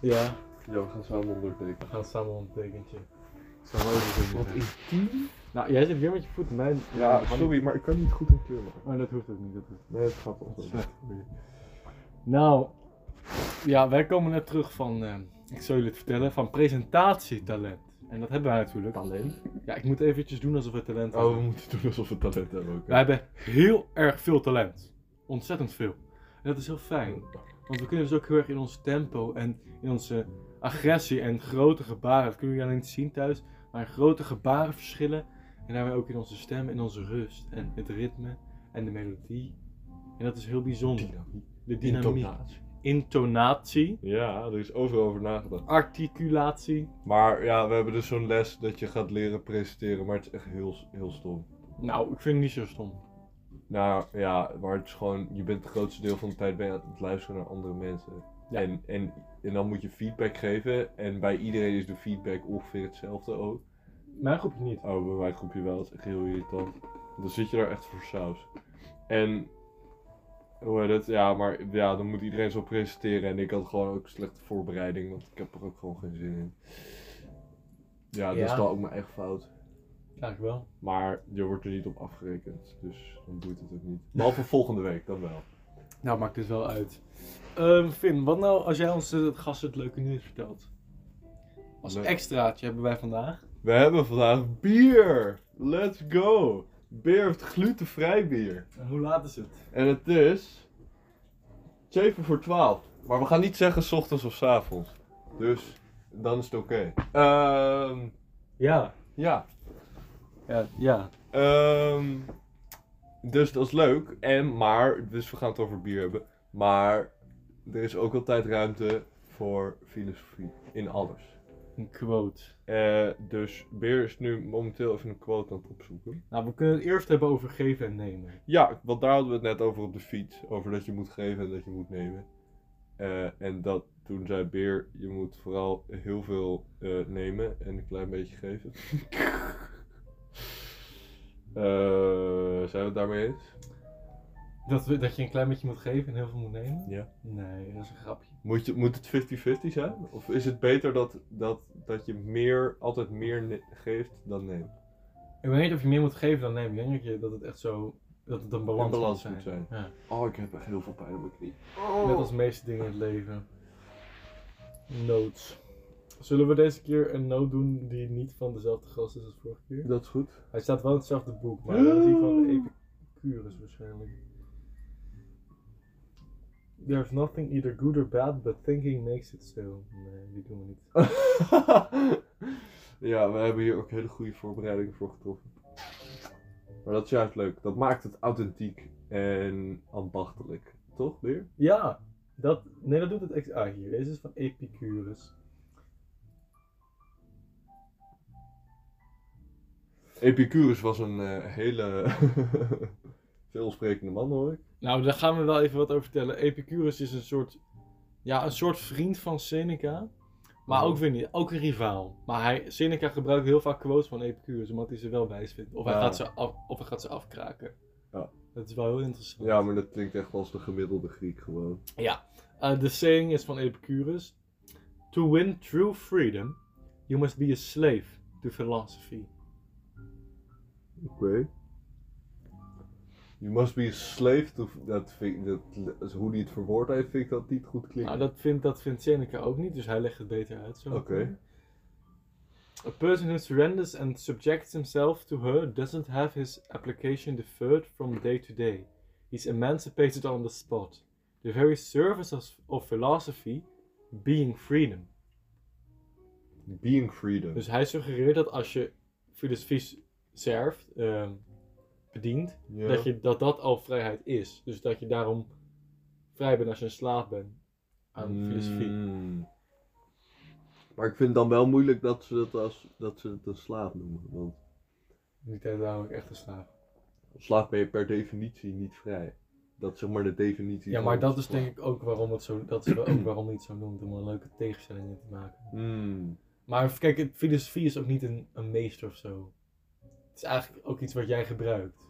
Ja, Ja, we gaan samen ondertekenen. we gaan samen een tekentje. Samen Wat ondertekenen. intiem? Nou, jij zit weer met je voeten. Mijn... Ja, sorry, maar ik kan niet goed in kleur maken. Maar dat hoeft ook niet. Dat hoeft niet. Nee, het gaat wel. Dat is slecht Nou, ja, wij komen net terug van, eh, ik zal jullie het vertellen, van presentatietalent. En dat hebben wij natuurlijk. Talent? Ja, ik moet eventjes doen alsof we talent Oh, hebben. we moeten doen alsof we talent hebben ook. Wij hebben heel erg veel talent. Ontzettend veel. En dat is heel fijn. Want we kunnen dus ook heel erg in ons tempo en in onze agressie en grote gebaren. Dat kunnen jullie alleen niet zien thuis. Maar in grote gebaren verschillen. En daarmee ook in onze stem, in onze rust. En het ritme en de melodie. En dat is heel bijzonder. Dynamiek. De dynamiek. Intonatie. Intonatie. Ja, er is overal over nagedacht. Articulatie. Maar ja, we hebben dus zo'n les dat je gaat leren presenteren, maar het is echt heel, heel stom. Nou, ik vind het niet zo stom. Nou ja, maar het is gewoon, je bent het grootste deel van de tijd ben je aan het luisteren naar andere mensen. Ja. En, en, en dan moet je feedback geven en bij iedereen is de feedback ongeveer hetzelfde ook. Mijn groepje niet. Oh, bij mijn groepje wel, het is echt heel irritant. Dan zit je daar echt voor saus. En, hoe heet het, ja, maar ja, dan moet iedereen zo presenteren en ik had gewoon ook slechte voorbereiding, want ik heb er ook gewoon geen zin in. Ja, dat Ja. is dan ook mijn eigen fout. Eigenlijk wel. Maar je wordt er niet op afgerekend, dus dan doet het ook niet. Behalve volgende week, dan wel. Nou, maakt dus wel uit. Ehm Finn, wat nou als jij ons eh, het gasten het leuke nieuws vertelt? Als Leuk. extraatje hebben wij vandaag. We hebben vandaag bier! Let's go! Beer heeft glutenvrij bier. En hoe laat is het? En het is 7 voor 12. Maar we gaan niet zeggen 's ochtends of 's avonds. Dus dan is het oké. Ehm, Ja. ja. Ja. ja. Ehm, dus dat is leuk. En maar, dus we gaan het over bier hebben. Maar er is ook altijd ruimte voor filosofie in alles. Een quote. Eh, dus Beer is nu momenteel even een quote aan het opzoeken. Nou, we kunnen het eerst hebben over geven en nemen. Ja, want daar hadden we het net over op de fiets. Over dat je moet geven en dat je moet nemen. Eh, en dat toen zei Beer, je moet vooral heel veel eh, nemen en een klein beetje geven. Eh, zijn we het daarmee eens? Dat, we, dat je een klein beetje moet geven en heel veel moet nemen? Ja. Nee, dat is een grapje. Moet, je, moet het 50-50 zijn? Of is het beter dat, dat, dat je meer, altijd meer ne- geeft dan neemt? Ik weet niet of je meer moet geven dan nemen. Ik denk dat je- dat het echt zo... Dat het een balans, In balans moet moet zijn. Ja. Oh, ik heb echt heel veel pijn op mijn knie. Net als de meeste dingen in het leven. Notes. Zullen we deze keer een note doen die niet van dezelfde gast is als vorige keer? Dat is goed. Hij staat wel in hetzelfde boek, maar dat is die van Epicurus waarschijnlijk. There's nothing either good or bad, but thinking makes it so. Nee, die doen we niet. ja, we hebben hier ook hele goede voorbereidingen voor getroffen. Maar dat is juist leuk. Dat maakt het authentiek en ambachtelijk. Toch, weer? Ja, dat, nee, dat doet het extra. Ah, hier, deze is van Epicurus. Epicurus was een eh, hele veelsprekende man, hoor ik. Nou, daar gaan we wel even wat over vertellen. Epicurus is een soort, ja, een soort vriend van Seneca. Maar Oh. ook weer niet, ook een rivaal. Maar hij, Seneca gebruikt heel vaak quotes van Epicurus, omdat hij ze wel wijs vindt. Of hij, Ja. gaat, ze af, of hij gaat ze afkraken. Ja. Dat is wel heel interessant. Ja, maar dat klinkt echt als de gemiddelde Griek gewoon. Uh, the saying is van Epicurus. To win true freedom, you must be a slave to philosophy. Oké. You must be a slave to... Dat vind, dat, dat- hoe die het verwoord heeft, vind ik dat niet goed Nou, klinken. dat vindt, dat vindt Seneca ook niet, dus hij legt het beter uit. zo. Oké. A person who surrenders and subjects himself to her doesn't have his application deferred from day to day. He's emancipated on the spot. The very service of, of philosophy being freedom. Being freedom. Dus hij suggereert dat als je filosofie serft, ehm, bedient, Ja. dat, je, dat dat al vrijheid is. Dus dat je daarom vrij bent als je een slaaf bent aan filosofie. Mm. Maar ik vind het dan wel moeilijk dat ze het, als, dat ze het een slaaf noemen. Want Niet daarom echt een slaaf. als slaaf ben je per definitie niet vrij. Dat is zeg maar de definitie. Ja, maar dat is denk ik ook waarom het zo, dat is wel ook waarom hij het zo noemt, om er leuke tegenstellingen te maken. Hmm. Maar kijk, het- filosofie is ook niet een, een meester of zo. Het is eigenlijk ook iets wat jij gebruikt.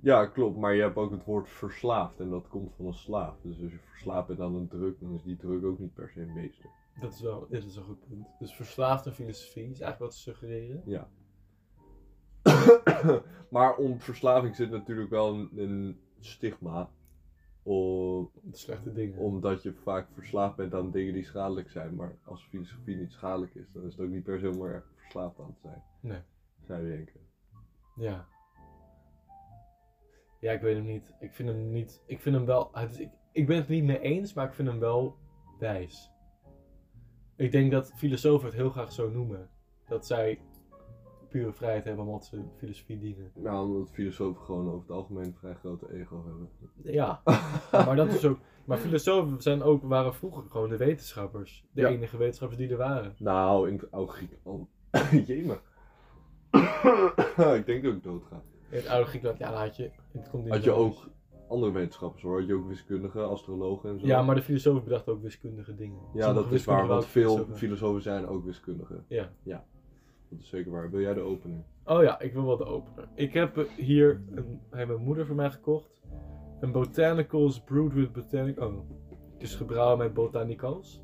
Ja, klopt. Maar je hebt ook het woord verslaafd. En dat komt van een slaaf. Dus als je verslaafd bent aan een druk, dan is die druk ook niet per se een meester. Dat is wel dit is een goed punt. Dus verslaafd aan filosofie is eigenlijk wat ze suggereren. maar om verslaving zit natuurlijk wel een, een stigma. Om, De slechte dingen. omdat je vaak verslaafd bent aan dingen die schadelijk zijn. Maar als filosofie niet schadelijk is, dan is het ook niet per se om er verslaafd aan te zijn. Nee. Zou je denken. Ja. Ja, ik weet hem niet. Ik vind hem niet. Ik vind hem wel. Het is- ik, ik ben het niet mee eens, maar ik vind hem wel wijs. Ik denk dat filosofen het heel graag zo noemen. Dat zij pure vrijheid hebben omdat ze filosofie dienen. Nou, omdat filosofen gewoon over het algemeen vrij grote ego hebben. Ja, maar dat is ook. Maar filosofen zijn ook, waren vroeger gewoon de wetenschappers. De Ja. enige wetenschappers die er waren. Nou, in het oude Griekenland. Jemig. ik denk dat ik doodga. In het oude Griekenland, ja, dan had je. Het komt niet Had je meer. ook andere wetenschappers hoor. Had je ook wiskundigen, astrologen en zo. Ja, maar de filosofen bedachten ook wiskundige dingen. Ja, dat is waar, want wat veel filosofen zijn ook wiskundigen. Ja. Dat is zeker waar. Wil jij de opening? Oh ja, ik wil wel de opener. Ik heb eh, hier, een, heeft mijn moeder voor mij gekocht. Een botanicals brewed with botanic... Oh, het is gebrouwen met botanicals.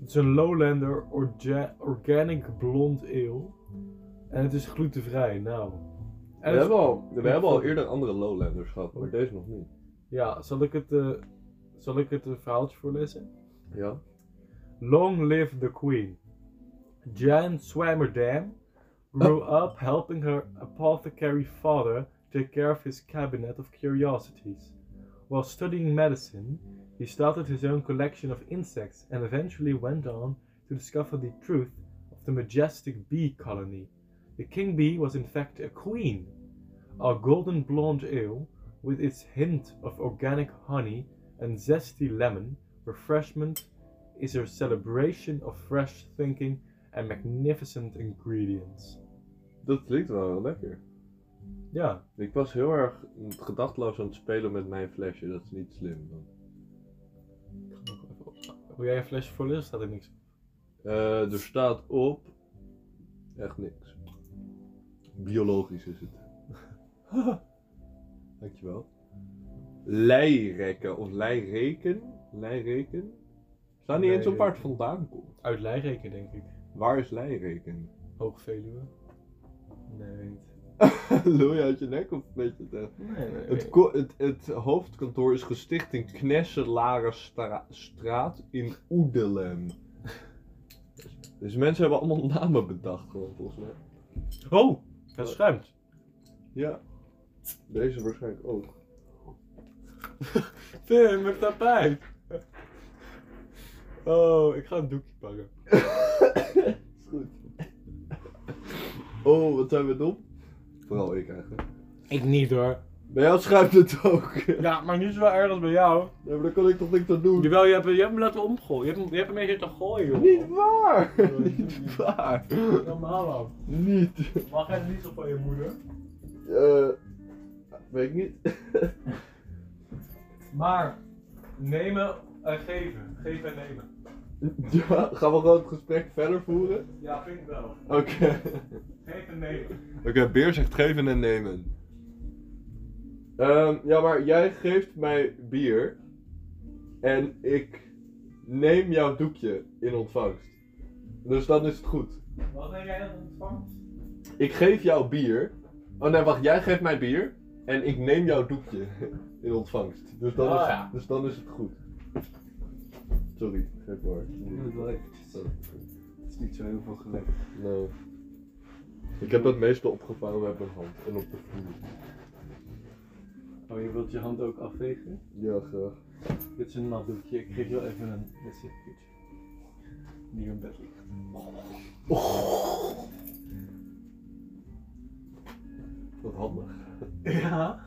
Het is een Lowlander orga- organic blond ale. En het is glutenvrij, nou. We En het- hebben, al, we hebben al eerder andere lowlanders gehad, maar deze nog niet. Ja, zal ik het, eh, zal ik het een verhaaltje voorlezen? Ja? Long live the Queen. Jan Swammerdam grew up helping her apothecary father take care of his cabinet of curiosities. While studying medicine, he started his own collection of insects and eventually went on to discover the truth of the majestic bee colony. The king bee was in fact a queen. Our golden blonde ale, with its hint of organic honey and zesty lemon, refreshment is her celebration of fresh thinking and magnificent ingredients. Dat klinkt wel heel lekker. Ja, Ik was heel erg gedachtloos aan het spelen met mijn flesje. Dat is niet slim. Man. ik ga hem ook even oppakken. Wil jij een flesje voorlezen? Staat er niks. Eh, er staat op... Echt niks. Biologisch is het. Dankjewel. Lijrekken of lijreken? Lijreken? Staat niet eens op waar het vandaan komt. Uit Leireken, denk ik. Waar is lijreken? Hoog Veluwe. Nee, weet niet. Lul je uit je nek of weet je het echt? Nee, nee, Het, nee. ko- het, het hoofdkantoor is gesticht in Knesselarstraat in Oedelem. Dus mensen hebben allemaal namen bedacht gewoon volgens mij. Oh, het schuimt. Ja. Deze waarschijnlijk ook. Vim, mijn tapijt. Oh, ik ga een doekje pakken. is goed. Oh, wat zijn we dom? Vooral ik eigenlijk. Ik niet hoor. Bij jou schuift het ook. Ja, Ja, maar niet zo erg als bij jou. maar daar kan ik toch niks aan doen. Jawel, je hebt, je hebt hem laten omgooien. Je hebt hem, je hebt hem een keer te gooien, joh. Niet waar! Oh, Niet waar! Normaal man. Niet. Mag jij niet zo van je moeder? Eh, weet ik niet. Maar nemen en geven. Geven en nemen. Ja, gaan we gewoon het gesprek verder voeren? Ja, vind ik wel. Oké. Geven en nemen. Oké, Beer zegt geven en nemen. Ehm, ja, maar jij geeft mij bier. En ik neem jouw doekje in ontvangst. Dus dan is het goed. Wat heb jij dat ontvangst? Ik geef jou bier. Oh nee, wacht, jij geeft mij bier. En ik neem jouw doekje in ontvangst. Dus dan, Oh, is, ja. dus dan is het goed. Sorry, geef maar. Het is niet zo heel veel gelukt. Nee. Ik heb dat meestal opgevangen met mijn hand en op de vloer. Oh, je wilt je hand ook afvegen? Ja, graag. Dit is een nat doekje. Ik geef jou even een wc-doekje. Die in bed ligt. Wat handig. Ja?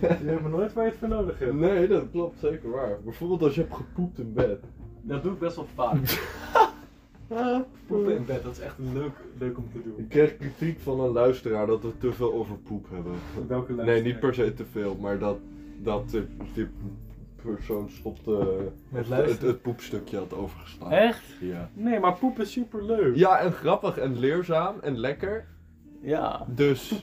Je hebt me nooit waar je het voor nodig hebt. Nee, dat klopt zeker waar. Bijvoorbeeld als je hebt gepoept in bed. Dat doe ik best wel vaak. Poepen in bed, dat is echt leuk, leuk om te doen. Ik kreeg kritiek van een luisteraar dat we te veel over poep hebben. Welke Nee, niet per se te veel, maar dat, dat de, die persoon stopte Met het, luisteren. het poepstukje had overgeslagen. Echt? Ja. Nee, maar poepen is super leuk. ja, en grappig en leerzaam en lekker. Ja. Dus.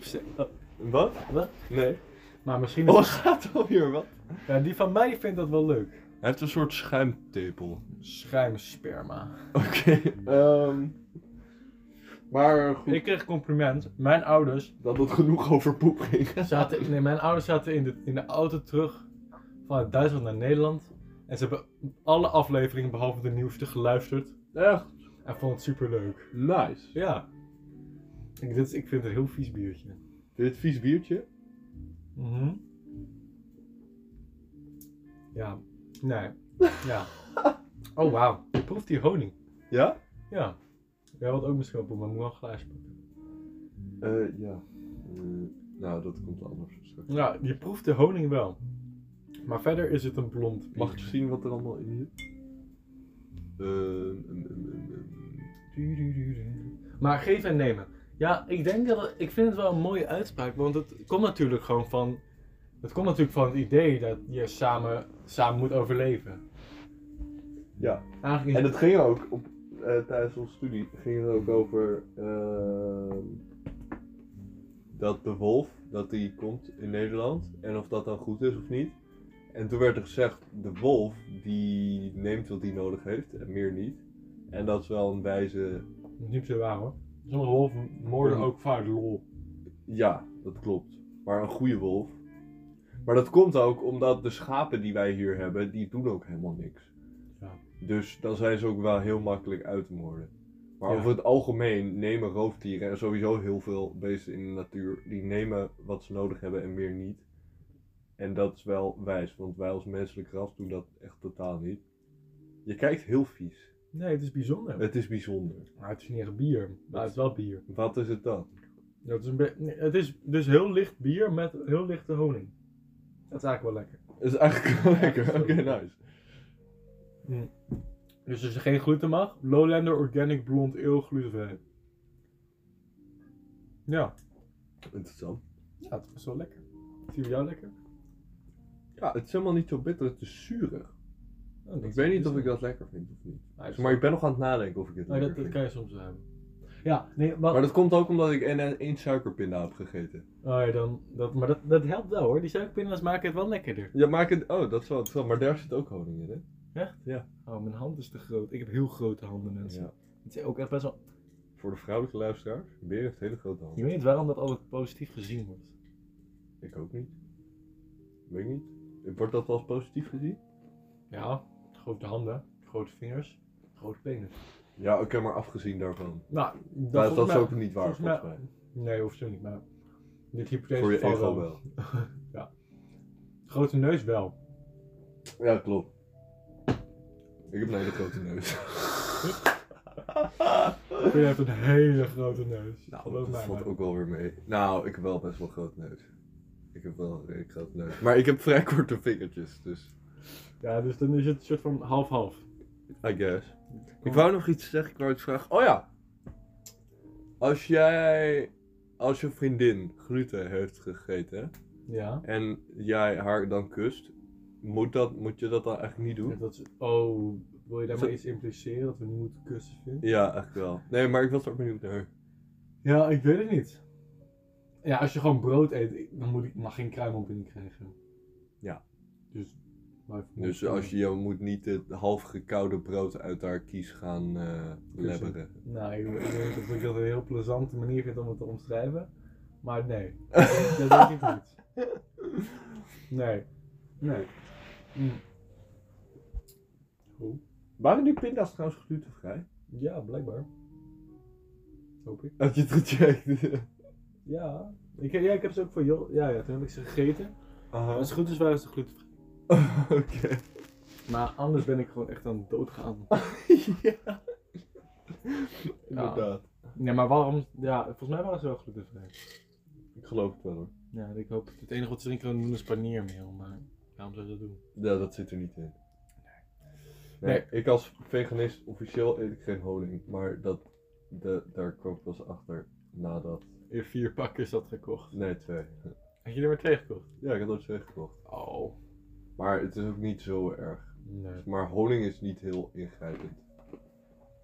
Wat? Wat? Nee. Maar misschien. Oh, gaat het alweer? Wat? Ja, die van mij vindt dat wel leuk. Hij heeft een soort schuimtepel. Schuimsperma. Oké. ehm, maar goed, Ik kreeg compliment. Mijn ouders dat het genoeg over poep ging. zaten, nee, mijn ouders zaten in de, in de auto terug vanuit Duitsland naar Nederland. En ze hebben alle afleveringen behalve de nieuwste geluisterd. Echt En vonden het superleuk. nice. Ja. Ik, dit, is- ik vind het een heel vies biertje. Dit vies biertje? Mhm. Ja. Nee. Ja. Oh, wauw. Je proeft die honing. Ja? Ja. Jij wilt ook misschien op, maar ik moet wel een glaasje pakken. Eh, ja. Eh, nou, dat komt anders. straks. Ja, je proeft de honing wel. Maar verder is het een blond bier. Mag ik zien wat er allemaal in zit? Ehm, ehm, ehm, ehm, ehm. Maar geven en nemen. Ja, ik denk dat het- ik vind het wel een mooie uitspraak, want het komt natuurlijk gewoon van het komt natuurlijk van het idee dat je samen, samen moet overleven. Ja. Eigenlijk is En het ging ook, op, eh, tijdens onze studie, ging het ook over ehm, dat de wolf, dat die komt in Nederland en of dat dan goed is of niet. En toen werd er gezegd, de wolf die neemt wat hij nodig heeft en meer niet. En dat is wel een wijze, niet zo waar hoor. Sommige wolven moorden Ja. ook vaak lol. ja, dat klopt. Maar een goede wolf. Maar dat komt ook omdat de schapen die wij hier hebben, die doen ook helemaal niks. Ja. Dus dan zijn ze ook wel heel makkelijk uit te moorden. Maar Ja. over het algemeen nemen roofdieren en sowieso heel veel beesten in de natuur, die nemen wat ze nodig hebben en meer niet. En dat is wel wijs, want wij als menselijk ras doen dat echt totaal niet. Je kijkt heel vies. Nee, het is bijzonder. Het is bijzonder. Maar het is niet echt bier, maar het is wel bier. Wat is het dan? Ja, het, is een be- nee, het is dus heel licht bier met heel lichte honing. Dat is eigenlijk wel lekker. Het is eigenlijk wel lekker. Oké, sorry. nice. Dus als je geen gluten mag, Lowlander Organic Blond Ale glutenvrij. Ja. Interessant. Ja, het is wel lekker. Zie je jou lekker? Ja, het is helemaal niet zo bitter, het is zuurig. Nou, dat Ik is- weet niet of ik dat lekker vind of niet. Maar, Maar ik ben nog aan het nadenken of ik het Nee, lekker dat, dat vind. kan je soms wel hebben. Ja, nee, wat... Maar dat komt ook omdat ik één- één suikerpinda heb gegeten. Oh ja, dan, dat, maar dat, dat helpt wel hoor. Die suikerpinda's maken het wel lekkerder. Ja, maar ik het... Oh, dat is wel interessant. Maar daar zit ook honing in, hè? Oh, mijn hand is te groot. Ik heb heel grote handen, mensen. Ja. Het is ook echt best wel... Voor de vrouwelijke luisteraars, Beer heeft hele grote Je handen. weet waarom dat altijd positief gezien wordt. Ik ook niet. Weet ik niet. Wordt dat wel eens positief gezien? Ja, grote handen, grote vingers, grote penis. Ja, oké, maar afgezien daarvan. Nou, dat, Dat, dat volgens is mij- ook niet waar, volgens mij- volgens mij. Nee, hoeft zo niet, maar... Dit hypothese Voor je geval ego wel. Grote neus wel. Ja, klopt. Ik heb een hele grote neus. Je hebt een hele grote neus. nou, Geloof dat mij valt maar. ook wel weer mee. Nou, ik heb wel best wel grote neus. Ik heb wel een redelijk grote neus. Maar ik heb vrij korte vingertjes, dus... Ja, dus dan is het een soort van half-half. I guess. Ik wou nog iets zeggen, ik wou iets vragen. Oh ja! Als jij, als je vriendin gluten heeft gegeten Ja. en jij haar dan kust, moet, dat, moet je dat dan eigenlijk niet doen? Dat is, oh, wil je daar Is maar dat- iets impliceren dat we niet moeten kussen vinden? Ja, eigenlijk wel. Nee, maar ik was er ook benieuwd naar. Ja, ik weet het niet. Ja, als je gewoon brood eet, ik- dan moet ik mag geen kruimelbinding krijgen. Ja. Dus, maar ik- Dus als je, je moet niet het half gekoude brood uit haar kies gaan eh lebberen. Nou, ik, ik weet niet of ik dat een heel plezante manier vind om het te omschrijven. Maar nee, dat denk ik niet. Nee. Nee. Mm. Goed. Waren die pinda's trouwens glutenvrij? Ja, blijkbaar. Hoop ik. Had je het gecheckt? Ja. Ik, ja, ik heb ze ook voor jou. Ja, ja, toen heb ik ze gegeten. Aha. Als het goed is, waren ze glutenvrij. Oké. Maar anders ben ik gewoon echt aan dood gegaan. ja. Inderdaad. Nee, maar waarom? Ja, volgens mij waren ze wel glutenvrij. Ik geloof het wel hoor. Ja, ik hoop. Het enige wat ze drinken kunnen doen is paneermeel. Maar waarom zou je dat doen? Ja, dat zit er niet in. Nee, Nee. ik als veganist officieel eet ik geen honing, maar dat, de, daar kwam ik pas achter nadat. In vier pakken is dat gekocht. Nee, twee. Had je er maar twee gekocht? Ja, ik had er twee gekocht. Oh. Maar het is ook niet zo erg. Nee. Maar honing is niet heel ingrijpend.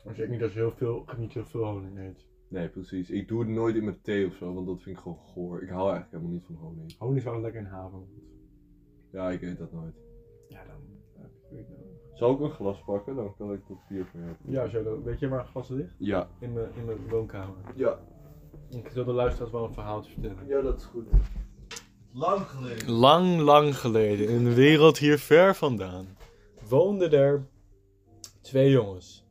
Maar zeker niet als je heel veel, niet heel veel honing eet. Nee, precies. Ik doe het nooit in mijn thee of zo, want dat vind ik gewoon goor. Ik hou eigenlijk helemaal niet van honing. Honing is wel lekker in haven. Ja, ik eet dat nooit. Ja, dan heb je het nodig. Zal ik een glas pakken? Dan kan ik dat bier voor je hebben. Ja, zo, dan weet je waar gasten ligt? Ja. In mijn, in mijn woonkamer. Ja. Ik zal de luisteraars wel een verhaaltje vertellen. Ja, dat is goed. Lang geleden. Lang, lang geleden, in een wereld hier ver vandaan, woonden er twee jongens.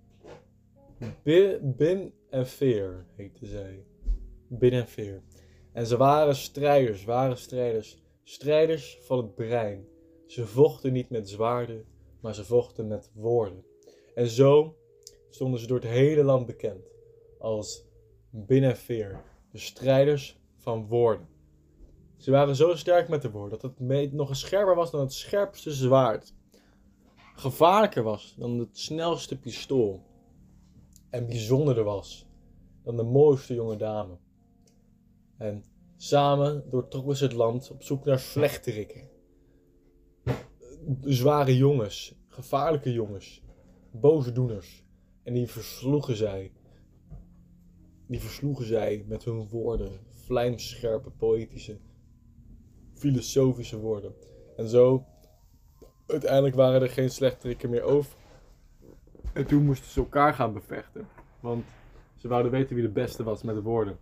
Bi- Bin en Veer heette zij. Bin en Veer. En ze waren strijders, waren strijders. Strijders van het brein. Ze vochten niet met zwaarden, maar ze vochten met woorden. En zo stonden ze door het hele land bekend als Bin en Veer, de strijders van woorden. Ze waren zo sterk met de woorden dat het me- nog eens scherper was dan het scherpste zwaard. Gevaarlijker was dan het snelste pistool. En bijzonderder was dan de mooiste jonge dame. En samen doortrokken ze het land op zoek naar vlechterikken. Zware jongens, gevaarlijke jongens, boze doeners. En die versloegen zij. Die versloegen zij met hun woorden, vlijmscherpe, poëtische filosofische woorden. En zo, uiteindelijk waren er geen slechterikken meer over. En toen moesten ze elkaar gaan bevechten. Want ze wouden weten wie de beste was met de woorden.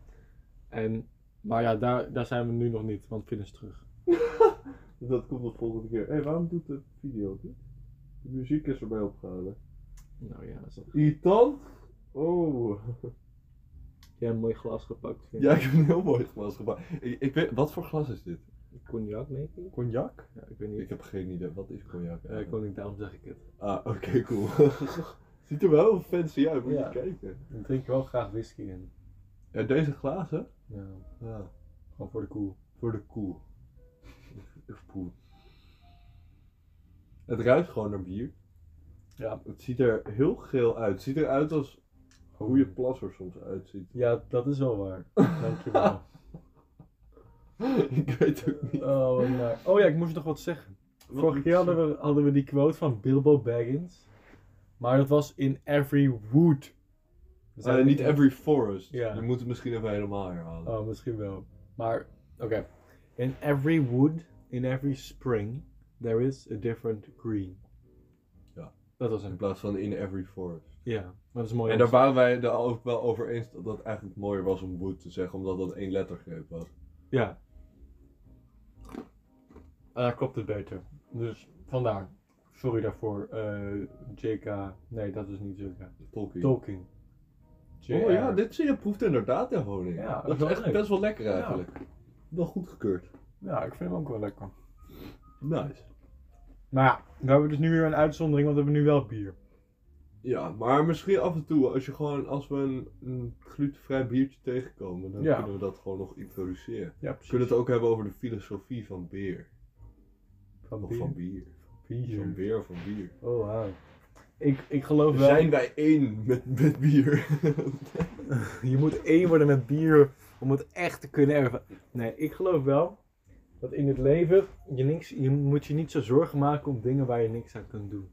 En, maar ja, daar, daar zijn we nu nog niet, want Finn is terug. Dus Dat komt de volgende keer. Hé, waarom doet de video dit? De muziek is erbij opgehouden. Nou ja, dat is- Irritant? Oh. jij hebt een mooi glas gepakt. Finn. Ja, ik heb een heel mooi glas gepakt. Ik, ik weet, wat voor glas is dit? Cognac, denk ik? Cognac? Ja, ik weet Ik niet. heb geen idee. Wat is cognac? Eh, eigenlijk? koning, daarom zeg ik het. Ah, oké, cool. Ziet er wel fancy uit, moet Ja. je kijken. Dan drink je wel graag whisky in. Ja, deze glazen? Ja, Ja, gewoon voor de koel. voor de koel. Of poel. Het ruikt gewoon naar bier. Ja. Het ziet er heel geel uit. Het ziet eruit als hoe je plas er soms uitziet. Ja, dat is wel waar. Dankjewel. ik weet ook niet. Oh, wat naar. Oh ja, ik moest nog wat zeggen. Vorige keer hadden we, hadden we die quote van Bilbo Baggins. Maar dat was in every wood. We Eh, niet every forest. Ja. Je moet het misschien even helemaal herhalen. Oh, misschien wel. Maar, oké. In every wood, in every spring, there is a different green. Ja. Dat was In hem. plaats van in every forest. Ja, maar dat is mooi. En daar waren wij er ook wel over eens dat het eigenlijk mooier was om wood te zeggen, omdat dat één lettergreep was. Ja. En daar klopt het beter. Dus, vandaar. Sorry daarvoor. eh, JK. Nee, dat is niet JK. Tolkien. Tolkien. Oh ja, JR. dit zie je proeft inderdaad de honing. Ja, dat is dat is wel echt leuk. best wel lekker eigenlijk. Wel goedgekeurd. Ja, ik vind hem ook wel lekker. Nice. Maar ja, we hebben dus nu weer een uitzondering, want we hebben nu wel bier. Ja, maar misschien af en toe, als, je gewoon, als we een, een glutenvrij biertje tegenkomen, dan Ja. kunnen we dat gewoon nog introduceren. Ja, We kunnen het ook hebben over de filosofie van bier. Van Of bier. van bier. Van bier of van bier. Oh, wauw. Ik, ik geloof wel, Zijn wij één met, met bier? je moet één worden met bier om het echt te kunnen ervaren. Nee, ik geloof wel dat in het leven je, niks, je moet je niet zo zorgen maken om dingen waar je niks aan kunt doen.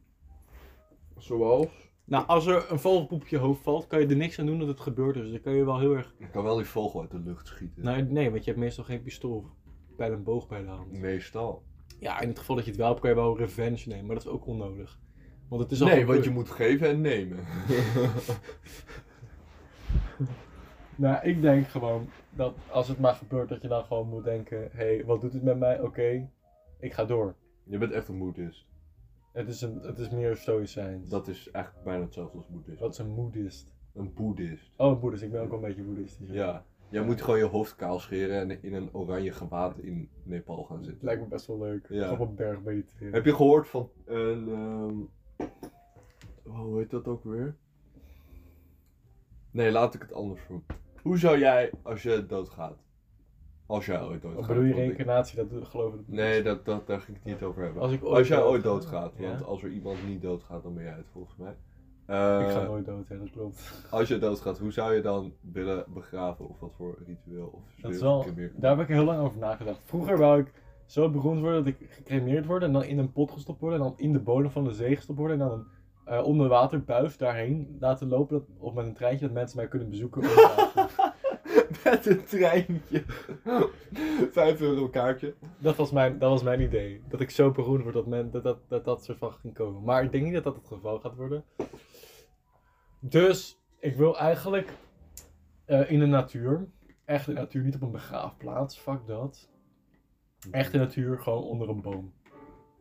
Zoals? Nou, als er een vogelpoep op je hoofd valt, kan je er niks aan doen dat het gebeurt. Dus dan kan je wel heel erg... Ik kan wel die vogel uit de lucht schieten. Nou, nee, want je hebt meestal geen pistool bij een boog bij de hand. Meestal. Ja, in het geval dat je het wel hebt, kan je wel revenge nemen. Maar dat is ook onnodig. Want het is al Nee, gebeurd. want je moet geven en nemen. Nou, ik denk gewoon dat als het maar gebeurt, dat je dan gewoon moet denken: hé, hey, wat doet het met mij? Oké, ik ga door. je bent echt een boeddhist. Het is, een, het is meer stoïcijns. Dat is eigenlijk bijna hetzelfde als boeddhist. Wat is een moedist? Een boeddhist. Oh, een boeddhist. Ik ben ook wel een beetje dus boeddhistisch. Ja. Jij moet gewoon je hoofd kaal scheren en in een oranje gewaad in Nepal gaan Het zitten. lijkt me best wel leuk. Ja. Op een berg mediteren. Heb je gehoord van een... ehm, oh, hoe heet dat ook weer? Nee, laat ik het anders doen. Hoe zou jij als je doodgaat? Als jij ooit doodgaat. Of bedoel je want ik- reïncarnatie? Dat doe- geloof ik Nee, dat, dat, daar ging ik het niet over hebben. Als ik Oh, ooit Als jij ooit doodga- doodgaat, Ja. want als er iemand niet doodgaat, dan ben jij het volgens mij. ik ga Eh, nooit dood, hè, dat klopt. Als je doodgaat, hoe zou je dan willen begraven? Of wat voor ritueel? Of Dat is wil je wel, een keer meer- daar heb ik heel lang over nagedacht. Vroeger wou ik zo beroemd worden dat ik gecremeerd word en dan in een pot gestopt worden en dan in de bodem van de zee gestopt worden en dan een eh, onderwaterbuis daarheen laten lopen dat, of met een treintje dat mensen mij kunnen bezoeken. onderwater. Met een treintje. Vijf euro kaartje. Dat was, mijn, dat was mijn idee. Dat ik zo beroemd word dat men, dat, dat, dat dat soort van ging komen. Maar ik denk niet dat dat het geval gaat worden. Dus ik wil eigenlijk eh, in de natuur. Echt in de natuur, niet op een begraafplaats. Fuck dat. Echt in de natuur, gewoon onder een boom.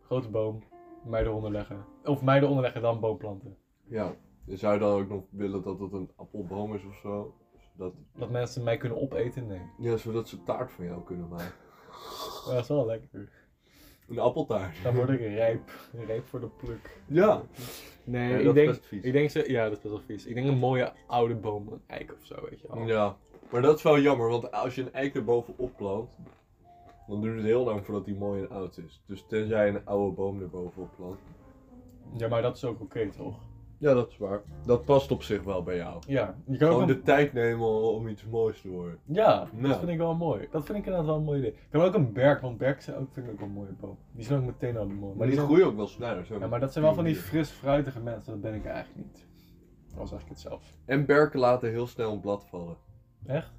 Grote boom. Mij eronder leggen. Of mij eronder leggen, dan boom planten. Ja. Je zou dan ook nog willen dat het een appelboom is of zo. Zodat, Dat mensen mij kunnen opeten? Nee. ja, zodat ze taart van jou kunnen maken. Maar dat is wel lekker. Een appeltaart. Dan word ik rijp. Rijp voor de pluk. Ja. Nee, Ja, ik, dat is denk, best vies. ik denk zo, ja, dat is best wel vies. Ik denk een mooie oude boom, een eik of zo, weet je wel. Ja. Maar dat is wel jammer, want als je een eik erbovenop plant, dan duurt het heel lang voordat die mooi en oud is. Dus tenzij je een oude boom erbovenop plant. Ja, maar dat is ook oké, toch? Ja, dat is waar. Dat past op zich wel bij jou. Ja, je kan ook Gewoon een- de tijd nemen om iets moois te worden. ja, dat Ja. vind ik wel mooi. Dat vind ik inderdaad wel een mooi idee. Ik heb ook een berk, want berk zijn ook, vind ik ook wel een mooie boom. Die zijn ook meteen al mooi. Maar die zijn- groeien ook wel sneller. Zo Ja, maar dat zijn wel van die fris fruitige mensen, dat ben ik eigenlijk niet. Dat was eigenlijk het zelf. En berken laten heel snel een blad vallen. Echt?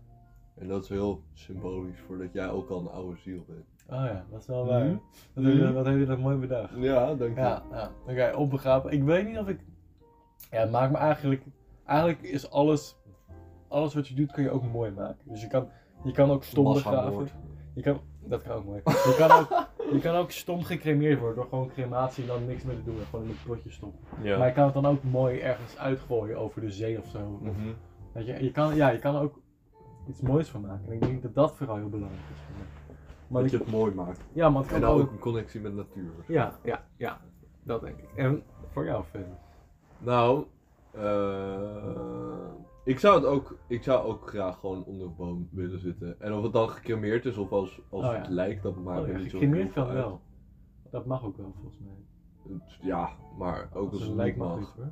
En dat is heel symbolisch voor dat jij ook al een oude ziel bent. Oh ja, dat is wel waar. Mhm. Wat, heb je, Mhm. wat heb je dat mooi bedacht. Ja, dank je. Ja, ja. oké, opbegraven. Ik weet niet of ik. Ja, het maakt me eigenlijk. Eigenlijk is alles. Alles wat je doet, kun je ook mooi maken. Dus je kan, je kan ook stom begraven. Massamoord. Je kan, dat kan ook mooi. Je kan ook, je kan ook stom gecremeerd worden door gewoon crematie en dan niks meer te doen. En gewoon in een potje stoppen. Ja. Maar je kan het dan ook mooi ergens uitgooien over de zee of zo. Mhm. Weet je, je kan, ja, je kan er ook iets moois van maken. En ik denk dat dat vooral heel belangrijk is voor mij. Maar Dat ik- je het mooi maakt. ja, maar het En kan dan ook. ook een connectie met natuur. Ja, ja, ja. Dat denk ik. En voor jou, Finn. Nou, eh, ik, zou het ook, ik zou ook graag gewoon onder een boom willen zitten. En of het dan gecremeerd is of als, als Oh, het ja. lijkt, dat maakt Oh me ja, niet zo gecremeerd heel kan veel uit. wel. Dat mag ook wel, volgens mij. Het- Ja, maar ook als een het lijk niet mag. niet, hoor.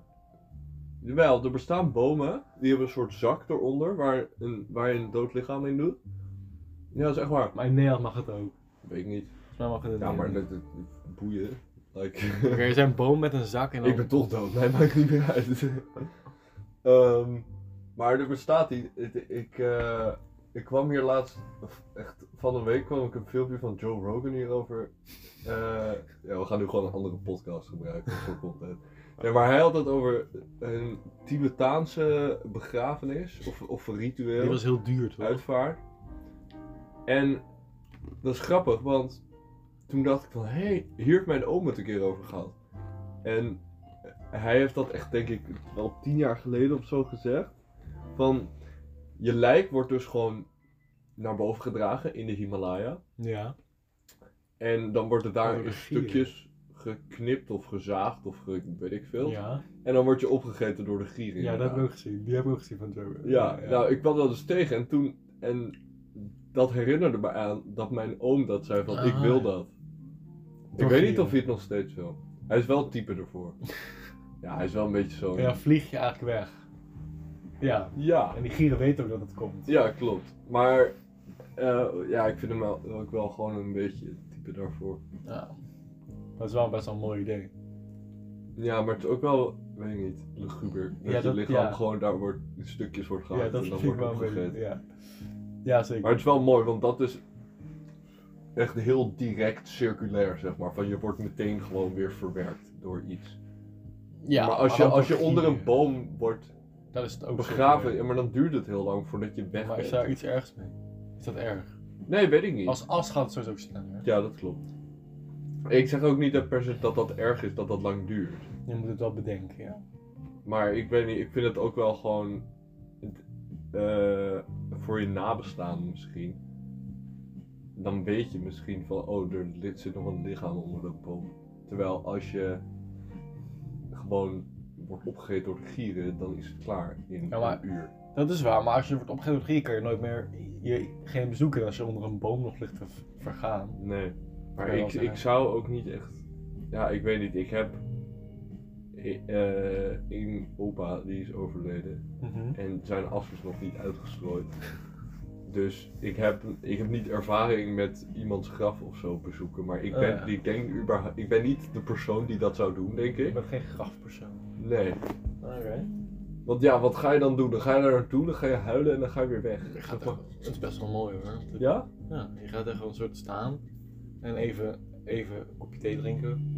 Jawel, er bestaan bomen, die hebben een soort zak eronder waar, een, waar je een dood lichaam in doet. Ja, dat is echt waar. Maar in Nederland mag het ook. Weet ik niet. Volgens mij mag het in Ja, maar Nederland. dat, dat- boeien. Like, Oké, er zijn boom met een zak en dan... ik ben toch dood, mij maakt niet meer uit. Ehm, maar er bestaat die. Ik, ik, eh, ik kwam hier laatst, of echt van een week kwam ik een filmpje van Joe Rogan hierover. Eh, ja, we gaan nu gewoon een andere podcast gebruiken voor content. Nee, maar hij had het over een Tibetaanse begrafenis of, of een ritueel Die was heel duur, toch? uitvaart. En dat is grappig, want toen dacht ik van, hé, hey, hier heeft mijn oom het een keer over gehad. En hij heeft dat echt, denk ik, wel tien jaar geleden of zo gezegd. Van, je lijk wordt dus gewoon naar boven gedragen in de Himalaya. Ja. En dan wordt het daar Oh, in gieren. stukjes geknipt of gezaagd of ge- weet ik veel. Ja. En dan word je opgegeten door de gieren. ja, dat heb ik inderdaad. ook gezien. Die heb ik ook gezien van Joe. Rogan. Ja, nou, ik kwam dat dus tegen en toen. En dat herinnerde me aan dat mijn oom dat zei: van ik Ah. wil dat. Toch ik weet niet hier. of hij het nog steeds wil. Hij is wel het type ervoor. ja, hij is wel een beetje zo. En dan vlieg je eigenlijk weg. Ja. ja, En die gieren weten ook dat het komt. ja, klopt. Maar eh, ja, ik vind hem wel- ook wel gewoon een beetje het type daarvoor. Ja. Dat is wel best wel een mooi idee. Ja, maar het is ook wel, weet ik niet, luguber. Dat Ja, je dat- lichaam ja. gewoon daar wordt, in stukjes wordt gehaald ja, dat en dan vind ik wordt wel een opgegeten. beetje... Ja, ja zeker. Maar het is wel mooi, want dat is echt heel direct circulair, zeg maar. Van je wordt meteen gewoon weer verwerkt door iets. ja, maar als je, dan als door je onder een gieren. boom wordt Dat is het ook begraven, zeker. ja, maar dan duurt het heel lang voordat je weg Maar is bent. daar iets ergs mee? Is dat erg? Nee, weet ik niet. Als as gaat het sowieso ook sneller. Ja, dat klopt. Ik zeg ook niet dat per se dat dat erg is, dat dat lang duurt. Je moet het wel bedenken, ja. Maar ik weet niet, ik vind het ook wel gewoon... eh, voor je nabestaan misschien. Dan weet je misschien van, oh, er li- zit nog een lichaam onder de boom. Terwijl als je gewoon wordt opgegeten door de gieren, dan is het klaar in Ja, maar- een uur. Dat is waar, maar als je wordt opgegeven door gier, kan je nooit meer je, geen bezoeken als je onder een boom nog ligt te v- vergaan. Nee. Maar Kan je wel ik, zeggen. ik zou ook niet echt. Ja, ik weet niet. Ik heb. eh, eh, een opa die is overleden. Mhm. En zijn as is nog niet uitgestrooid. Dus ik heb, ik heb niet ervaring met iemands graf of zo bezoeken. Maar ik Oh, ben, ja. ik, denk, überhaupt- ik ben niet de persoon die dat zou doen, denk Je ik. bent geen grafpersoon. Nee. Oké. Want ja, wat ga je dan doen? Dan ga je daar naartoe, dan ga je huilen en dan ga je weer weg. Je gaat er- het is best wel mooi hoor. Want het- Ja? Ja, je gaat er gewoon een soort staan en even, even een kopje thee drinken.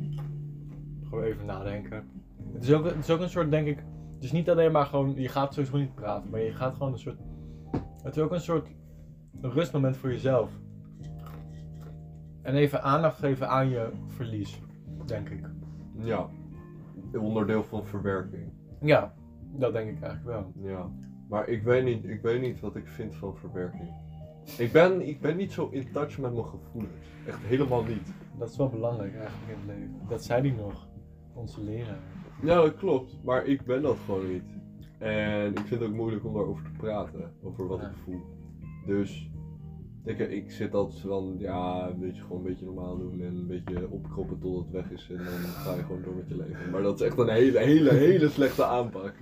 Gewoon even nadenken. Het is, ook, het is ook een soort, denk ik, het is niet alleen maar gewoon, je gaat sowieso niet praten, maar je gaat gewoon een soort, het is ook een soort rustmoment voor jezelf. En even aandacht geven aan je verlies, denk ik. Ja. Onderdeel van verwerking. Ja, dat denk ik eigenlijk wel. Ja. Maar ik weet niet, ik weet niet wat ik vind van verwerking. Ik ben, ik ben niet zo in touch met mijn gevoelens. Echt helemaal niet. Dat is wel belangrijk eigenlijk in het leven. Dat zei die nog, onze leraar. Ja, dat klopt. Maar ik ben dat gewoon niet. En ik vind het ook moeilijk om daarover te praten. Over wat Ja. ik voel. Dus ik, ik zit altijd van, ja, een beetje, gewoon een beetje normaal doen. En een beetje opkroppen tot het weg is. En dan ga je gewoon door met je leven. Maar dat is echt een hele, hele, hele slechte aanpak.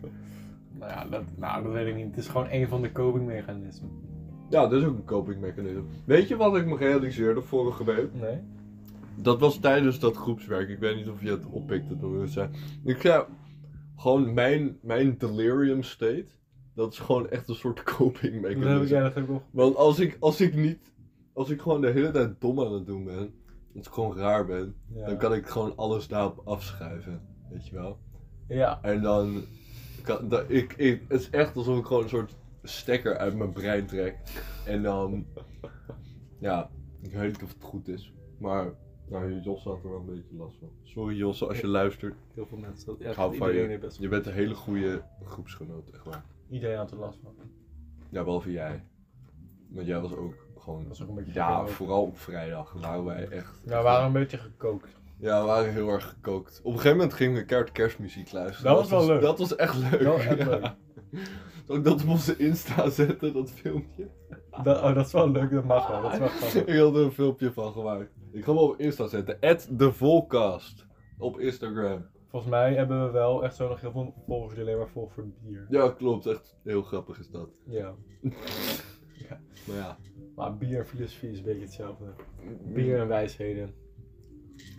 Nou ja, dat, nou, dat weet ik niet. Het is gewoon een van de copingmechanismen. Ja, dat is ook een copingmechanisme. Weet je wat ik me realiseerde vorige week? Nee? Dat was tijdens dat groepswerk. Ik weet niet of je het oppikte toen we het zeiden. Ik zei, gewoon mijn, mijn delirium state. Dat is gewoon echt een soort coping Dat heb ik, mechanisme. ja, dat heb ik nog. Want als ik, als ik niet, als ik gewoon de hele tijd dom aan het doen ben, als ik gewoon raar ben, Ja. dan kan ik gewoon alles daarop afschuiven. Weet je wel? Ja, En dan, kan, dan- ik, ik, het is echt alsof ik gewoon een soort stekker uit mijn brein trek. En dan, ja, ik weet niet of het goed is. Maar, nou, Jos had er wel een beetje last van. Sorry Jos, als je luistert. heel veel mensen. Dat, ja, Ik hou van iedereen heeft best Je bent een hele goede groepsgenoot, echt waar. Iedereen had er last van. Ja, behalve jij. Want jij was ook gewoon Dat was ook een beetje Ja, gekookt. vooral op vrijdag waren wij echt. Ja, we waren een beetje gekookt. Ja, we waren heel erg gekookt. Op een gegeven moment gingen we keihard kerstmuziek luisteren. Dat was wel leuk. Dat was echt leuk. Dat was echt ja. leuk. Zal ik dat op onze Insta zetten, dat filmpje? Dat, oh, dat is wel leuk, dat mag wel. Dat is wel grappig. Ik had er een filmpje van gemaakt. Ik ga hem op Insta zetten. At Op Instagram. Volgens mij hebben we wel echt zo nog heel veel volgers die alleen maar volgen voor het bier. Ja, klopt. Echt heel grappig is dat. Ja. Maar ja. Maar bier en filosofie is een beetje hetzelfde. Bier en wijsheden.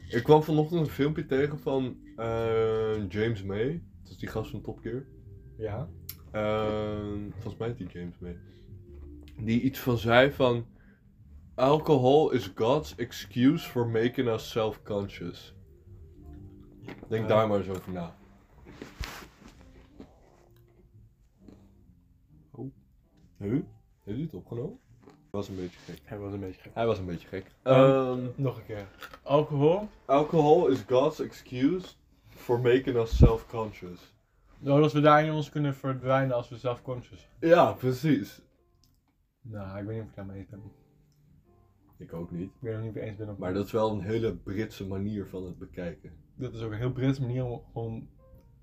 Ik kwam vanochtend een filmpje tegen van eh, James May. Dat is die gast van Top Gear. Ja? Ehm, volgens mij heet die James mee. Die iets van zei van... Alcohol is God's excuse for making us self-conscious. Denk Ja. daar maar eens over na. Oh. Huh? Heeft u het opgenomen? was een beetje gek. Hij was een beetje gek. Hij was een beetje gek. Ehm, Nog een keer. Alcohol? alcohol is God's excuse for making us self-conscious. Nou, dat we daarin ons kunnen verdwijnen als we zelfconscious zijn. Ja, precies. Nou, ik weet niet of ik daarmee eens ben. Ik Ik ook niet. weet nog niet of ik eens ben op Maar dat is wel een hele Britse manier van het bekijken. dat is ook een heel Brits manier om gewoon,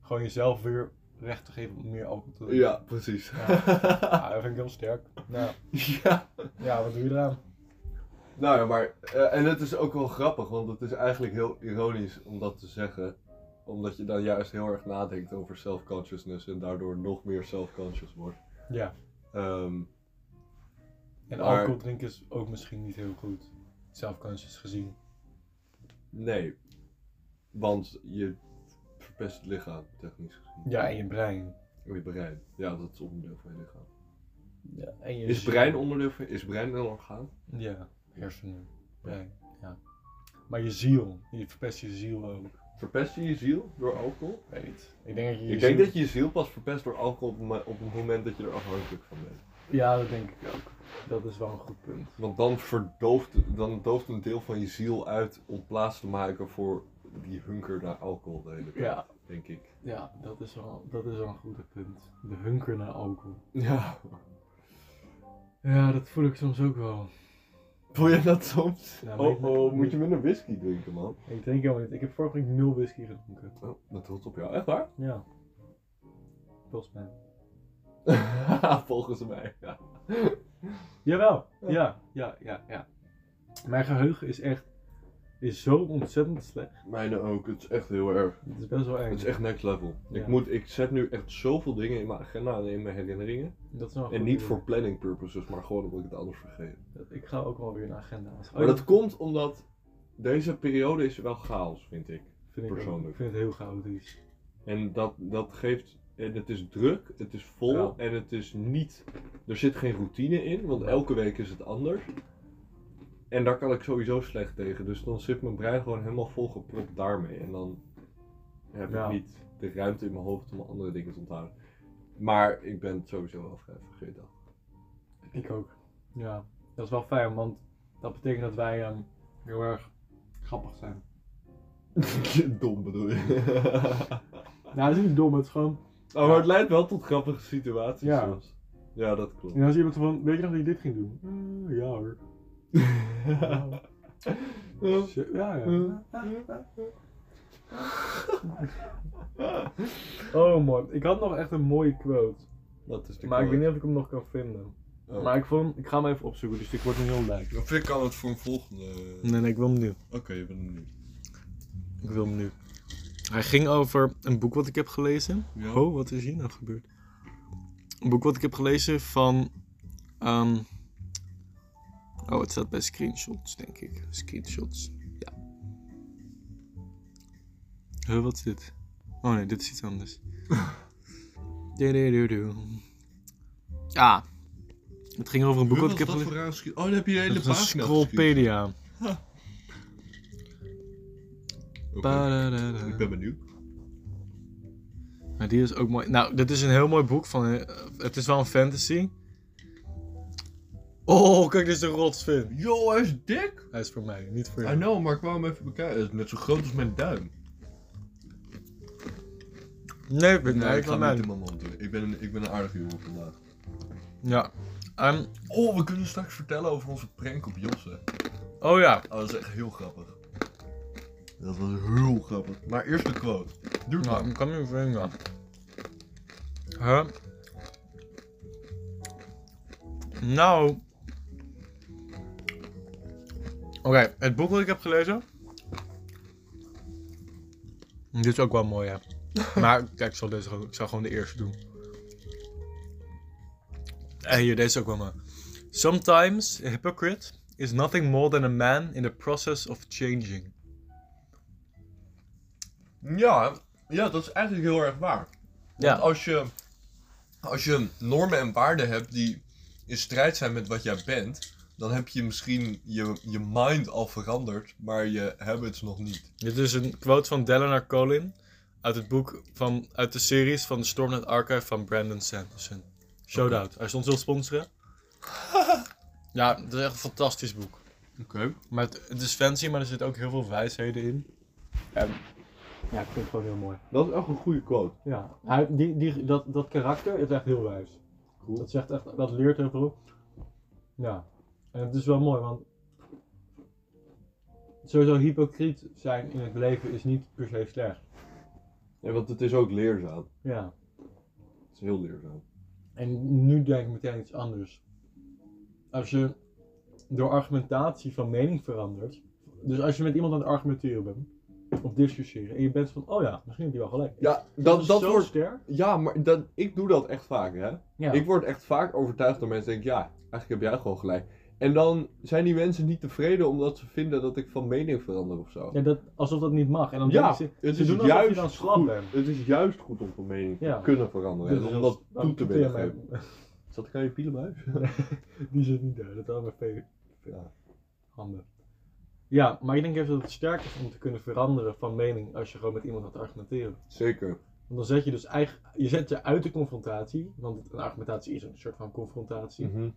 gewoon jezelf weer recht te geven om meer alcohol te drinken. Ja, precies. Ja, dat vind ik heel sterk. Nou, ja. ja, wat doe je eraan? Nou ja, maar. eh, en het is ook wel grappig, want het is eigenlijk heel ironisch om dat te zeggen. Omdat je dan juist heel erg nadenkt over self-consciousness en daardoor nog meer self-conscious wordt. Ja, Ehm, en Maar- alcohol drinken is ook misschien niet heel goed. Zelfconscious gezien. nee. Want je verpest het lichaam, technisch gezien. Ja, en je brein. Of je brein. Ja, dat is onderdeel van je lichaam. Ja, en je Is ziel. brein onderdeel van. Is brein een orgaan? Ja, hersenen. Brein, ja. Maar je ziel. Je verpest je ziel ook. Verpest je je ziel door alcohol? Ik weet niet. Ik denk dat je je Ik denk ziel- dat je je ziel pas verpest door alcohol op, het mo- op het moment dat je er afhankelijk van bent. Ja, dat denk ik ook. Dat is wel een goed punt. Want dan verdooft dan dooft een deel van je ziel uit om plaats te maken voor die hunker naar alcohol de hele tijd, Ja. denk ik. Ja, dat is wel, dat is wel een goed punt. De hunker naar alcohol. Ja. Ja, dat voel ik soms ook wel. Voel je dat soms? Ja, weet oh, ik oh, niet. moet je minder whisky drinken, man. Ik drink helemaal niet. Ik heb vorige week nul whisky gedronken. Oh, dat trots op jou, echt waar? Ja. Volgens mij. Volgens mij, ja. Jawel. Ja, ja, ja, ja. Mijn geheugen is echt is zo ontzettend slecht. Mijne ook, het is echt heel erg. Het is best wel eng. Het is echt next level. Ja. Ik, moet, ik zet nu echt zoveel dingen in mijn agenda en in mijn herinneringen. Dat is wel een En goed niet idee. voor planning purposes, maar gewoon omdat ik het anders vergeet. Ik ga ook wel weer een agenda aanschaffen. Maar dat komt omdat deze periode is wel chaos, vind ik. vind ik ook. persoonlijk. Ik vind het heel chaotisch. En dat, dat geeft en het is druk, het is vol Ja. en het is niet. Er zit geen routine in, want elke week is het anders. En daar kan ik sowieso slecht tegen. Dus dan zit mijn brein gewoon helemaal volgepropt daarmee. En dan heb Ja. ik niet de ruimte in mijn hoofd om andere dingen te onthouden. Maar ik ben het sowieso wel vrij vergeten. Ik ook. Ja, dat is wel fijn, want dat betekent dat wij ehm, heel erg grappig zijn. Dom bedoel je. Nou, dat is niet dom, het is gewoon... Oh, maar het leidt wel tot grappige situaties Ja. soms. Ja, dat klopt. En als iemand van, weet je nog dat je dit ging doen? Eh, ja hoor. Ja. Shit, Ja, ja. Ja. Oh man, ik had nog echt een mooie quote. Dat is de Maar ik weet quote. niet of ik hem nog kan vinden. Oh. Maar ik, vond, hem- ik ga hem even opzoeken, dus ik word nu heel lijp. Of ik kan het voor een volgende. Nee, nee, ik wil hem nu. Oké, ik ben er nu. Ik wil hem nu. Hij ging over een boek wat ik heb gelezen. Ja. Oh, wat is hier nou gebeurd? Een boek wat ik heb gelezen van. ehm, Oh, het staat bij screenshots, denk ik. Screenshots. Ja. Huh, wat is dit? Oh nee, dit is iets anders. Du-du-du-du. Ah. Het ging over een boek wat ik heb gelezen. Oh, dan heb je de hele Dat is een Scrollpedia. Ba-da-da-da. Ik ben benieuwd. Maar die is ook mooi. Nou, dit is een heel mooi boek van. eh, het is wel een fantasy. Oh, kijk, dit is een rotsvin. Yo, hij is dik! Hij is voor mij, niet voor I jou. know, maar ik wou hem even bekijken. Hij is net zo groot als mijn duim. Nee, ik ben Nee, ik eigenlijk ga van hem mij. niet in mijn mond doen. Ik ben een, ik ben een aardige jongen vandaag. Ja. Ehm, Oh, we kunnen straks vertellen over onze prank op Josse. oh ja. Oh, dat is echt heel grappig. Dat was heel grappig. Maar eerst de quote. Duurt Nou, lang. ik kan nu vinden. Huh? Nou. Oké, het boek wat ik heb gelezen. Dit is ook wel mooi, ja. Maar kijk, ik zal, deze, gewoon- ik zal gewoon de eerste doen. En hier, deze is ook wel mooi. Sometimes a hypocrite is nothing more than a man in the process of changing. Ja, ja, dat is eigenlijk heel erg waar. Ja. Want als je, als je normen en waarden hebt die in strijd zijn met wat jij bent, dan heb je misschien je, je mind al veranderd, maar je habits nog niet. Dit is een quote van Delana Colin uit het boek van, uit de series van de Stormnet Archive van Brandon Sanderson. Shoutout. Als je ons wil sponsoren. ja, het is echt een fantastisch boek. Oké. Maar het, het is fancy, maar er zit ook heel veel wijsheden in. En, Ehm, ja, ik vind het gewoon heel mooi. Dat is echt een goede quote. Ja, hij, die, die, dat, dat karakter is echt heel wijs. Cool. Dat, zegt echt, dat leert heel veel. Ja, en het is wel mooi, want sowieso hypocriet zijn in het leven is niet per se slecht. Ja, want het is ook leerzaam. Ja. Het is heel leerzaam. En nu denk ik meteen iets anders. Als je door argumentatie van mening verandert. Dus als je met iemand aan het argumenteren bent. Of discussiëren. En je bent van, oh ja, misschien heb je wel gelijk. Dus Ja, is dat, dat zo wordt... sterk. Ja, maar dat, ik doe dat echt vaak, hè. Ja. Ik word echt vaak overtuigd door mensen. Denk ik, ja, eigenlijk heb jij gewoon gelijk. En dan zijn die mensen niet tevreden omdat ze vinden dat ik van mening verander of zo. Ja, dat, alsof dat niet mag. En dan Ja, denk ik, ze, het ze is doen alsof je juist dan slap goed. bent. Het is juist goed om van mening Ja. Dus te kunnen veranderen. en om dat dan toe te toeter je willen geven. mij- Zat ik aan je pielenbuis? Die zit niet daar, dat waren mijn vele- Ja. handen. Ja, maar ik denk even dat het sterk is om te kunnen veranderen van mening als je gewoon met iemand aan het argumenteren bent. Zeker. Want dan zet je dus eigen, je zet je uit de confrontatie, want een argumentatie is een soort van confrontatie. Mhm.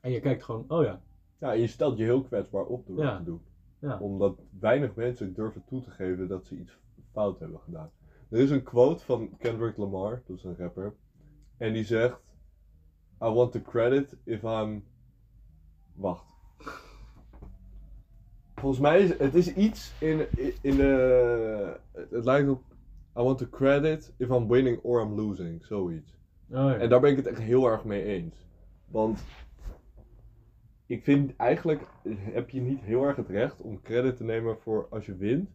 En je kijkt gewoon, oh ja, Ja, je stelt je heel kwetsbaar op door Ja. dat te doen. Ja. Omdat weinig mensen durven toe te geven dat ze iets fout hebben gedaan. Er is een quote van Kendrick Lamar, dat is een rapper. En die zegt... I want the credit if I'm... Wacht. Volgens mij is het is iets in, in de... Het lijkt op... I want the credit if I'm winning or I'm losing. Zoiets. oh ja. En daar ben ik het echt heel erg mee eens. Want ik vind eigenlijk heb je niet heel erg het recht om credit te nemen voor als je wint.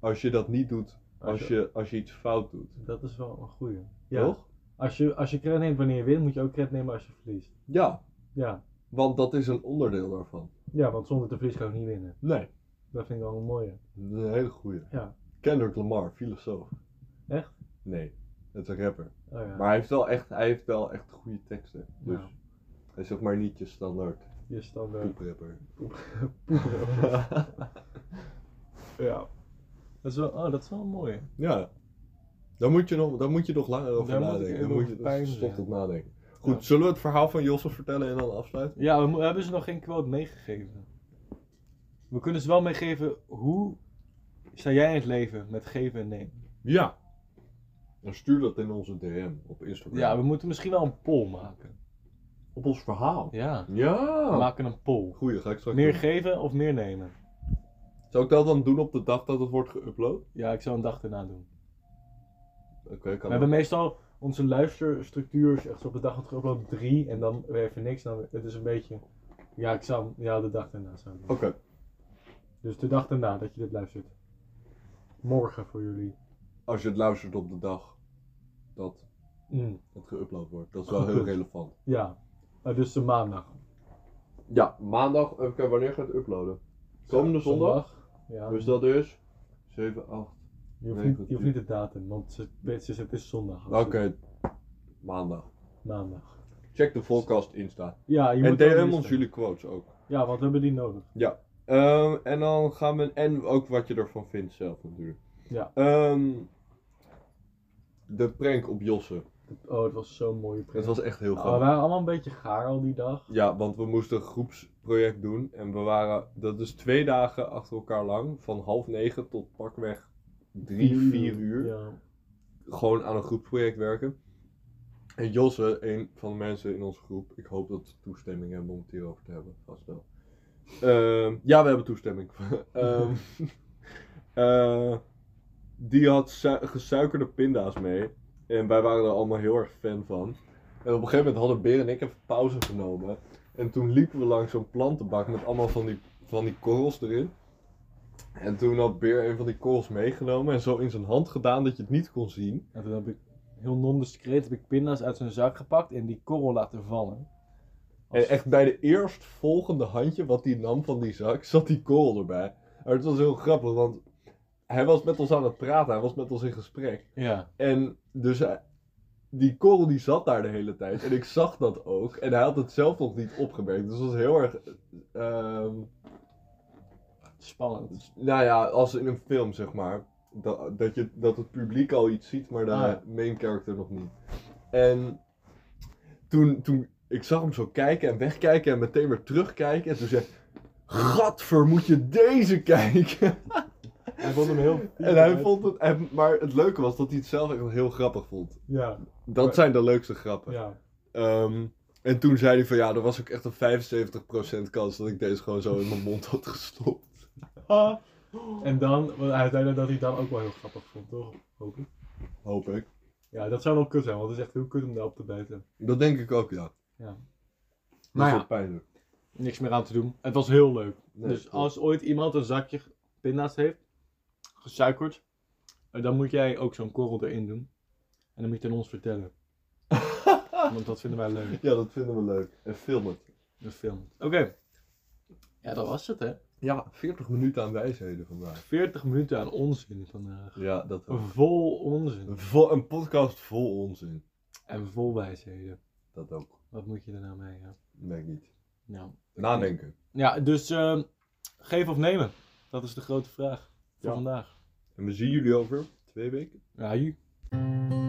Als je dat niet doet, als je, als je iets fout doet. dat is wel een goeie. Toch? Als je, als je credit neemt wanneer je wint, moet je ook credit nemen als je verliest. Ja, Ja, want dat is een onderdeel daarvan. ja want zonder te verliezen kan je ook niet winnen. Nee. Dat vind ik wel een mooie. Dat is een hele goeie. Ja. Kendrick Lamar, filosoof. Echt? Nee. Het is een rapper. Oh ja. Maar hij heeft wel echt, hij heeft wel echt goede teksten. Dus Nou. hij is zeg maar niet je standaard Je standaard. poeprapper. Ja. Dat is wel, oh, dat is wel mooi. ja. Daar moet, je nog, daar moet je nog langer over Daar moet ik nadenken. even Daar moet over je dat is peinzen, tot ja. het nadenken. Goed, Ja. zullen we het verhaal van Josse vertellen en dan afsluiten? Ja, we, mo- hebben ze nog geen quote meegegeven. We kunnen ze wel meegeven hoe sta jij in het leven met geven en nemen. Ja. Dan stuur dat in onze DM op Instagram. Ja, we moeten misschien wel een poll maken. Op ons verhaal. Ja, we Ja. Oh. maken een poll. Goeie, ga ik straks Meer doen. geven of meer nemen? Zou ik dat dan doen op de dag dat het wordt geüpload? Ja, ik zou een dag erna doen. Oké, We kan hebben meestal onze luisterstructuur is echt zo op de dag dat geüpload drie en dan weer even niks. Dan, het is een beetje, ja, ik zou, ja, de dag daarna zou ik doen. Oké, Dus de dag daarna dat je dit luistert. Morgen voor jullie. als je het luistert op de dag dat Mm, het geüpload wordt. Dat is Goed wel heel punt. relevant. ja, Eh, dus de maandag. Ja, maandag. Oké, wanneer gaat het uploaden? Komende zondag. Ja. Dus dat is 7, 8. Je hoeft, Nee, niet, goed, je hoeft ja. niet de datum, want ze, het is, het is zondag. Oké, dus maandag. Maandag. Check de podcast Insta. Ja, je En moet wel DM die ons stemmen. jullie quotes ook. Ja, want we hebben die nodig. Ehm, en dan gaan we. En ook wat je ervan vindt zelf natuurlijk. Ja. Ehm, de prank op Josse. Oh, het was zo'n mooie Het pret. was echt heel Oh, we grappig. waren allemaal een beetje gaar al die dag. Ja, want we moesten een groepsproject doen. En we waren. Dat is twee dagen achter elkaar lang. Van half negen tot pakweg drie, vier uur. Ja. gewoon aan een groepsproject werken. En Josse, een van de mensen in onze groep, ik hoop dat ze toestemming hebben om het hierover te hebben, vast wel. Ehm, ja, we hebben toestemming. Ehm, eh, die had su- gesuikerde pinda's mee. En wij waren er allemaal heel erg fan van. En op een gegeven moment hadden Beer en ik even pauze genomen. En toen liepen we langs zo'n plantenbak met allemaal van die, van die korrels erin. En toen had Beer een van die korrels meegenomen en zo in zijn hand gedaan dat je het niet kon zien. En toen heb ik heel non-discreet heb ik pinda's uit zijn zak gepakt en die korrel laten vallen. En echt bij de eerstvolgende handje wat hij nam van die zak, zat die kool erbij. Maar het was heel grappig, want hij was met ons aan het praten, hij was met ons in gesprek. Ja. En dus hij- die korrel die zat daar de hele tijd. En ik zag dat ook. En hij had het zelf nog niet opgemerkt. Dus het was heel erg, ehm, Spannend. nou ja, als in een film zeg maar. Dat, dat, je, dat het publiek al iets ziet, maar de Ah, ja. main character nog niet. En toen, toen, ik zag hem zo kijken en wegkijken en meteen weer terugkijken. En toen zei Gadver, moet je deze kijken? Hij vond hem heel... En hij vond het, hij- maar het leuke was dat hij het zelf echt wel heel grappig vond. Ja, Dat zijn de leukste grappen. ja. Ehm, en toen zei hij van ja, er was ook echt een 75% kans dat ik deze gewoon zo in mijn mond had gestopt. Ah. En dan, want hij zei dat hij dan ook wel heel grappig vond, toch? Hoop ik. Hoop ik. Ja, dat zou wel kut zijn, want het is echt heel kut om daarop te bijten. Dat denk ik ook, ja. Ja. Dat Maar is ja. wel pijnlijk. Niks meer aan te doen. Het was heel leuk. Nee, dus klopt. als ooit iemand een zakje pinda's heeft, gesuikerd, eh, dan moet jij ook zo'n korrel erin doen. En dan moet je het aan ons vertellen. Want dat vinden wij leuk, Ja, dat vinden we leuk. En film het. de film. Oké. Ja, dat was het hè. Ja, 40 minuten aan wijsheden vandaag. 40 minuten aan onzin vandaag. Ja, dat Vol onzin. Vol, een podcast vol onzin. En vol wijsheden. Dat ook. Wat moet je er nou mee? Ja. Merk ik niet. Nou. Nadenken. ja, dus eh, geven of nemen? Dat is de grote vraag voor Ja. vandaag. En we zien jullie over twee weken. Ja, ju.